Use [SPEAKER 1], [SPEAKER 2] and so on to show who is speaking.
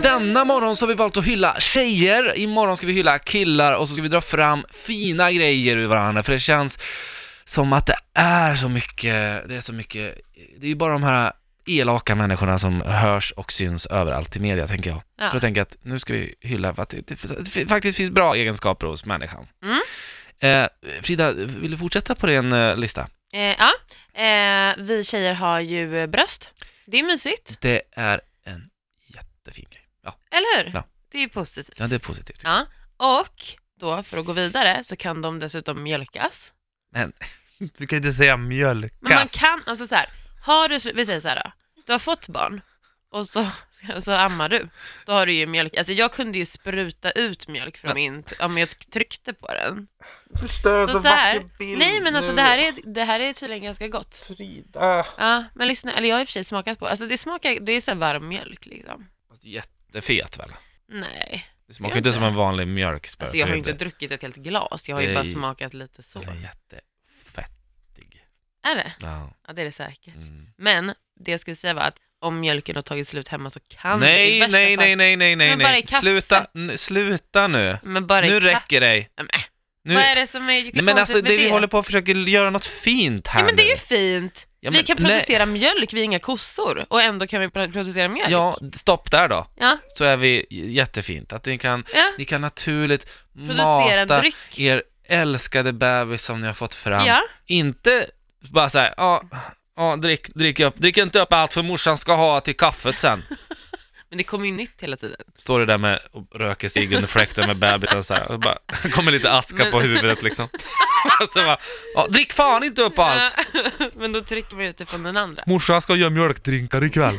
[SPEAKER 1] denna morgon så har vi valt att hylla tjejer, imorgon ska vi hylla killar och så ska vi dra fram fina grejer ur varandra för det känns som att det är så mycket, det är så mycket, det är ju bara de här elaka människorna som hörs och syns överallt i media tänker jag.
[SPEAKER 2] Ja.
[SPEAKER 1] Så jag tänker att nu ska vi hylla för att det, det, det faktiskt finns bra egenskaper hos människan.
[SPEAKER 2] Mm.
[SPEAKER 1] Eh, Frida, vill du fortsätta på din eh, lista?
[SPEAKER 2] Eh, ja, eh, vi tjejer har ju eh, bröst. Det är mysigt,
[SPEAKER 1] Det är en jättefin grej. Ja,
[SPEAKER 2] eller hur?
[SPEAKER 1] Ja.
[SPEAKER 2] Det är positivt.
[SPEAKER 1] ja det är positivt.
[SPEAKER 2] Ja. Och då, för att gå vidare, så kan de dessutom mjölkas.
[SPEAKER 1] Men,
[SPEAKER 3] Du kan inte säga mjölkas.
[SPEAKER 2] Men man kan, alltså så här, har du, sl- vi säger så här då, du har fått barn och så, och så ammar du, då har du ju mjölk, alltså jag kunde ju spruta ut mjölk från
[SPEAKER 1] Men-
[SPEAKER 2] min, t- om jag tryckte på den.
[SPEAKER 3] Förstör
[SPEAKER 2] Så, så här, nej men alltså
[SPEAKER 3] nu.
[SPEAKER 2] det här, är, det här är tydligen ganska gott.
[SPEAKER 3] Frida.
[SPEAKER 2] Ja, men lyssna, eller jag har i och för sig smakat på, alltså det smakar, det är så här varm mjölk liksom.
[SPEAKER 1] fast jättefet väl?
[SPEAKER 2] Nej,
[SPEAKER 1] Det smakar
[SPEAKER 2] Gör
[SPEAKER 1] ju inte
[SPEAKER 2] inte
[SPEAKER 1] som
[SPEAKER 2] det?
[SPEAKER 1] en vanlig mjölkspö.
[SPEAKER 2] alltså jag har ju inte druckit ett helt glas, jag har ju bara
[SPEAKER 1] Nej.
[SPEAKER 2] smakat lite så.
[SPEAKER 1] Den är jättefettig.
[SPEAKER 2] Är det?
[SPEAKER 1] Ja.
[SPEAKER 2] Ja det är det säkert.
[SPEAKER 1] Mm.
[SPEAKER 2] Men det jag skulle säga var att om mjölken har tagit slut hemma så kan det i
[SPEAKER 1] Nej,
[SPEAKER 2] värsta
[SPEAKER 3] Nej,
[SPEAKER 2] fall-
[SPEAKER 3] nej, nej, nej, nej,
[SPEAKER 2] Men bara i
[SPEAKER 3] nej.
[SPEAKER 2] kaffet.
[SPEAKER 3] Sluta, n- sluta nu.
[SPEAKER 2] Men bara i
[SPEAKER 3] Nu
[SPEAKER 2] kaffe-
[SPEAKER 3] räcker det.
[SPEAKER 2] Nej, äh.
[SPEAKER 3] Nu.
[SPEAKER 2] Vad är det som är konstigt
[SPEAKER 3] Nej men alltså
[SPEAKER 2] med
[SPEAKER 3] det
[SPEAKER 2] det?
[SPEAKER 3] vi håller på och försöker göra något fint här
[SPEAKER 2] ja, men det är ju
[SPEAKER 3] nu.
[SPEAKER 2] fint.
[SPEAKER 1] Ja,
[SPEAKER 2] vi
[SPEAKER 1] men-
[SPEAKER 2] kan
[SPEAKER 1] nej.
[SPEAKER 2] producera mjölk, vi är inga kossor och ändå kan vi pro- producera mjölk.
[SPEAKER 1] Ja, stopp där då.
[SPEAKER 2] Ja,
[SPEAKER 1] Så är vi j- jättefint. Att ni kan,
[SPEAKER 2] ja.
[SPEAKER 1] ni kan naturligt
[SPEAKER 2] Producera en
[SPEAKER 1] mata
[SPEAKER 2] dryck.
[SPEAKER 1] er älskade bebis som ni har fått fram.
[SPEAKER 2] Ja.
[SPEAKER 1] Inte bara så här, ja, ja, drick, drick upp, drick inte upp allt för morsan ska ha till kaffet sen.
[SPEAKER 2] Men det kommer ju nytt hela tiden.
[SPEAKER 1] Står det där med och röker cigg under fläkten med bebisen så här, och bara kommer lite aska
[SPEAKER 2] Men-
[SPEAKER 1] på huvudet liksom. så bara, ja, drick fan inte upp allt!
[SPEAKER 2] Ja. men då trycker man ut det från den andra.
[SPEAKER 3] Morsan ska göra mjölkdrinkar ikväll.